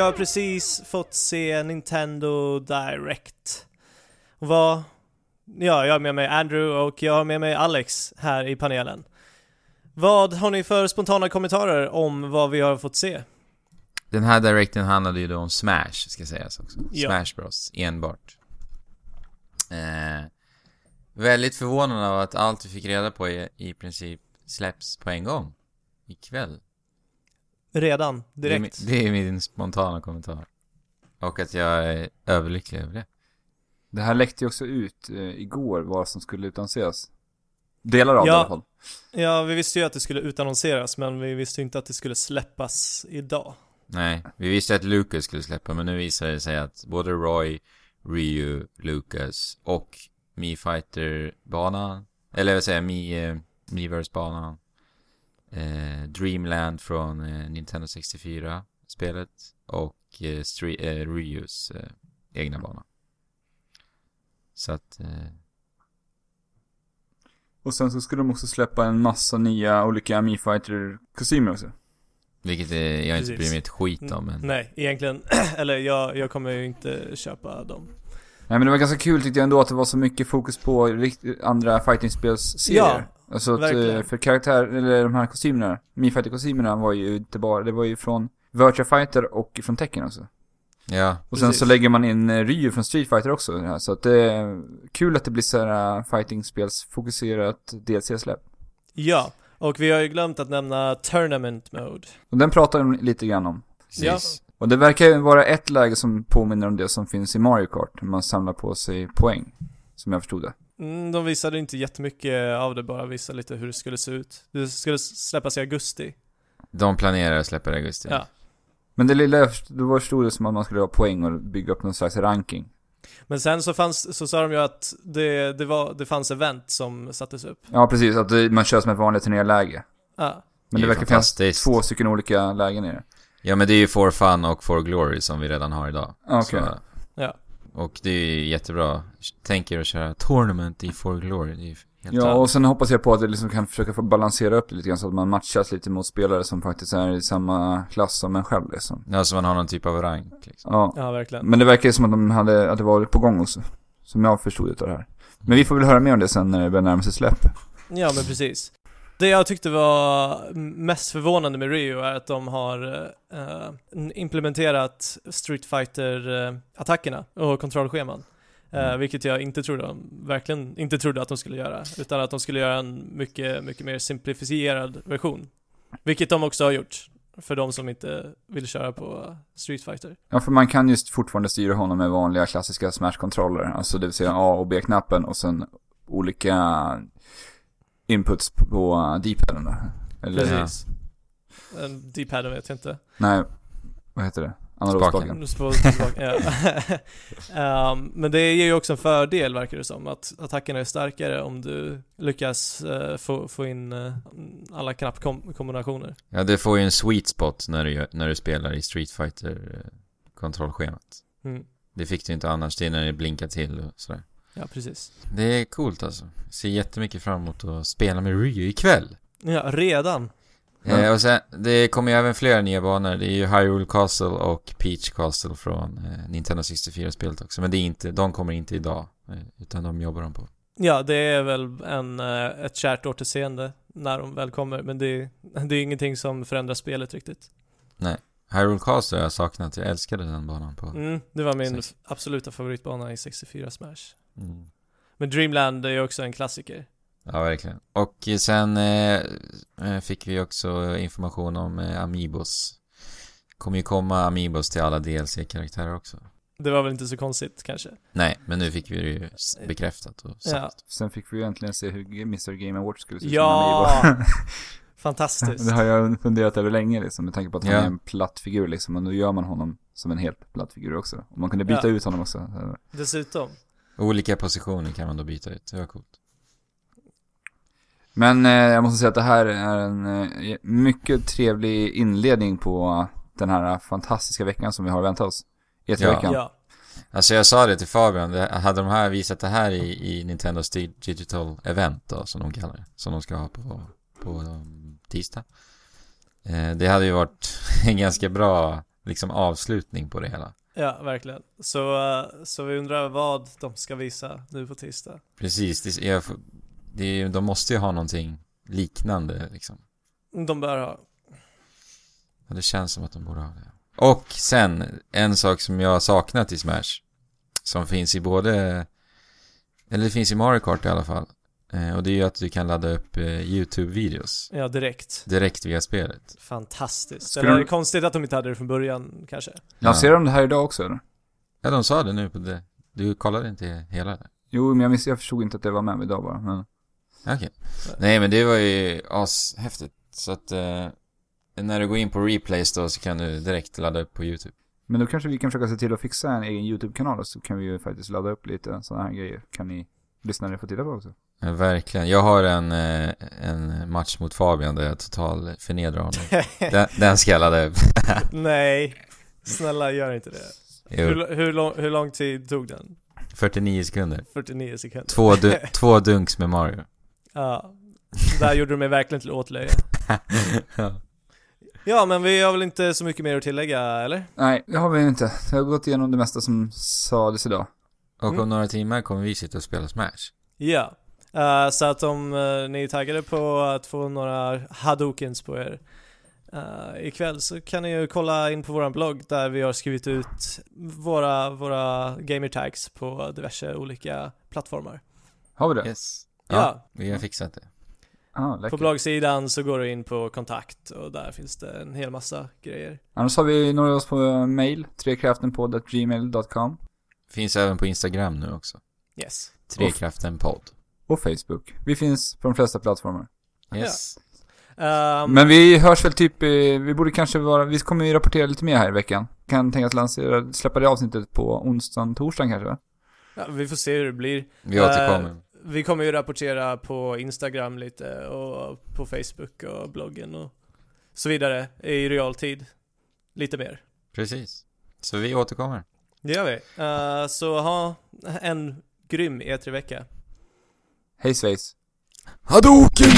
har precis fått se Nintendo Direct. Och vad... Ja, jag har med mig Andrew och jag har med mig Alex här i panelen. Vad har ni för spontana kommentarer om vad vi har fått se? Den här directen handlade ju då om Smash, ska sägas också. Ja. Smash Bros, enbart. Eh, väldigt förvånad av att allt vi fick reda på i, i princip släpps på en gång. Ikväll. Redan, direkt. Det är, min- det är min spontana kommentar. Och att jag är överlycklig över det. Det här läckte ju också ut eh, igår vad som skulle utannonseras. Delar av Ja. det i alla fall. Ja, vi visste ju att det skulle utannonseras, men vi visste ju inte att det skulle släppas idag. Nej, vi visste att Lucas skulle släppa, men nu visar det sig att både Roy, Ryu, Lucas och Mi Fighter-banan, eller vad säger jag, Mi, eh, Miiverse-banan, eh, Dreamland från eh, Nintendo 64-spelet och eh, Stre- eh, Ryus eh, egna bana. Så att, eh, Och sen så skulle de också släppa en massa nya olika Mi Fighter kostymer också. vilket eh, jag inte Precis. bryr mig ett skit om, men Nej, egentligen, eller jag, jag kommer ju inte köpa dem. Nej men det var ganska kul tyckte jag ändå att det var så mycket fokus på rikt- andra fightingspelsserier. Ja, alltså att, verkligen. eh, för karaktär, eller de här kostymerna, Mi Fighter kostymerna var ju inte bara, det var ju från Virtua Fighter och från Tekken också. ja. Och sen Precis. så lägger man in eh, Ryu från Street Fighter också i det här, så att det är kul att det blir så här eh, fightingspelsfokuserat DLC-släpp. Ja, och vi har ju glömt att nämna Tournament Mode. Och den pratar de lite grann om. Precis. Och det verkar ju vara ett läge som påminner om det som finns i Mario Kart, när man samlar på sig poäng. Som jag förstod det. Mm, de visade inte jättemycket av det, bara visade lite hur det skulle se ut. Det skulle släppas i augusti. De planerar att släppa det i augusti. Ja. Men det lilla jag förstod, då förstod det som att man skulle ha poäng och bygga upp någon slags ranking. Men sen så fanns, så sa de ju att det, det, var, det fanns event som sattes upp. Ja, precis. Att det- man kör som ett vanligt turnéläge. Ja, är Men det, ju verkar finnas fantastiskt. två stycken olika lägen i det. Ja men det är ju For Fun och For Glory som vi redan har idag. Okej. Så- Ja. Och det är ju jättebra. Tänk er att köra Tournament i For Glory. Det är ju helt Ja, ja, och sen hoppas jag på att det liksom kan försöka få balansera upp det lite grann så att man matchas lite mot spelare som faktiskt är i samma klass som en själv liksom. ja, så man har någon typ av rank liksom. Ja. ja verkligen. Men det verkar ju som att de hade, att det var på gång också. Som jag förstod utav det här. Men vi får väl höra mer om det sen när det börjar närma sig släpp. Ja, men precis. Det jag tyckte var mest förvånande med Rio är att de har eh, implementerat Street fighter eh, attackerna och kontrollscheman. Eh, Mm. Vilket jag inte trodde de, verkligen inte trodde att de skulle göra. Utan att de skulle göra en mycket, mycket mer simplifierad version. Vilket de också har gjort. För de som inte vill köra på Street Fighter. Ja, för man kan just fortfarande styra honom med vanliga klassiska smashkontroller. Alltså det vill säga A och B-knappen och sen olika inputs på eh, deepaden där. Eller, Precis. Eh, D-paden vet jag inte. nej, vad heter det? Analogstaken. Nu spår- tillbaka, ja. Ehm, men det ger ju också en fördel verkar det som, att attackerna är starkare om du lyckas eh, få, få in eh, alla knappkombinationer. Ja, det får ju en sweet spot när du, gör- när du spelar i Street Fighter eh, kontrollschemat. Mm. Det fick du inte annars, det är när det blinkar till och sådär. Ja, precis. Det är coolt alltså. Ser jättemycket fram emot att spela med Ryu ikväll. Ja, redan. Ja. Eh, och sen, det kommer ju även flera nya banor. Det är ju Hyrule Castle och Peach Castle från eh, Nintendo 64-spelet också. Men det är inte, de kommer inte idag. Eh, utan de jobbar de på. Ja, det är väl en, eh, ett kärt återseende när de väl kommer, men det, det är ingenting som förändrar spelet riktigt. Hyrule Castle har jag saknat. Jag älskade den banan på. Mm, det var min Precis. absoluta favoritbana i 64 Smash. Mm. Men Dreamland är ju också en klassiker. Ja, verkligen. Och eh, sen eh, eh, fick vi också information om eh, Amiibos. Kommer ju komma Amiibos till alla DLC-karaktärer också. Det var väl inte så konstigt kanske. Nej, men nu fick vi det ju s- bekräftat och sagt. Ja. Sen fick vi ju äntligen se hur Mr Game Awards skulle se ut som Ja! en Amiibo. Fantastiskt. Det har jag funderat över länge liksom, med tanke på att han Ja. är en platt figur liksom. Och då gör man honom som en helt platt figur också. Och man kunde byta Ja. ut honom också. Dessutom. Olika positioner kan man då byta ut. Det var coolt. Men eh, jag måste säga att det här är en eh, mycket trevlig inledning på den här fantastiska veckan som vi har väntat oss. E3-veckan. Ja. Alltså jag sa det till Fabian, det, hade de här visat det här i, i Nintendos di- digital event då, som de kallar det, som de ska ha på, på um, tisdag. Eh, det hade ju varit en ganska bra liksom avslutning på det hela. Ja, verkligen. Så, eh, så vi undrar vad de ska visa nu på tisdag. Precis, det, är- jag, får- det, är- de måste ju ha någonting liknande liksom. De bör ha. Ja, det känns som att de borde ha det. Och sen, en sak som jag har saknat i Smash. Som finns i både... Eller det finns i Mario Kart i alla fall. Eh, och det är ju att du kan ladda upp eh, YouTube-videos. Ja, direkt. Direkt via spelet. Fantastiskt. Skulle det var de- ju konstigt att de inte hade det från början kanske. Lanserar de det här idag också eller? Ja, de sa det nu på det. Du kollade inte hela det? Jo, men jag, miss, jag förstod inte att det var med idag bara. Men... Ja, Okej. Nej, men det var ju ashäftigt. Så att... Eh, när du går in på replays då så kan du direkt ladda upp på YouTube. Men då kanske vi kan försöka se till att fixa en egen YouTube-kanal och så kan vi ju faktiskt ladda upp lite sådana här grejer. Kan ni lyssnare få titta på också? Ja, verkligen. Jag har en, eh, en match mot Fabian där jag total förnedrar honom. Den, den ska jag ladda upp. Nej, snälla gör inte det. Jo, Hur, hur, lång, hur lång tid tog den? 49 sekunder. 49 sekunder. Två, du, två dunks med Mario. Ja, där gjorde du mig verkligen till åtlöje. Ja. Ja, men vi har väl inte så mycket mer att tillägga, eller? Nej, det har vi inte. Jag har gått igenom det mesta som sades idag. Och om Mm. några timmar kommer vi sitta och spela Smash. Ja. Eh, så att om eh, ni är taggade på att få några hadokens på er eh, ikväll så kan ni ju kolla in på våran blogg där vi har skrivit ut våra, våra gamer tags på diverse olika plattformar. Har vi det? Yes. Ja, Ja, vi har fixat det. Ah, på läckert. bloggsidan så går du in på kontakt och där finns det en hel massa grejer. Annars har vi några av oss på mail, trekraftenpodd.gmail.com Finns även på Instagram nu också. Yes. Trekraften podd. och Facebook. Vi finns på de flesta plattformar. Yes. Ehm, Men vi hörs väl typ i, vi borde kanske vara, vi kommer ju rapportera lite mer här i veckan. Kan tänkas lansera, släppa det avsnittet på onsdagen, torsdagen kanske va? ja, vi får se hur det blir. Vi återkommer. Vi kommer ju rapportera på Instagram lite och på Facebook och bloggen och så vidare i realtid. Lite mer. Precis. Så vi återkommer. Det gör vi. Eh, så ha en grym E E3-vecka. Hej svejs! Hadoken!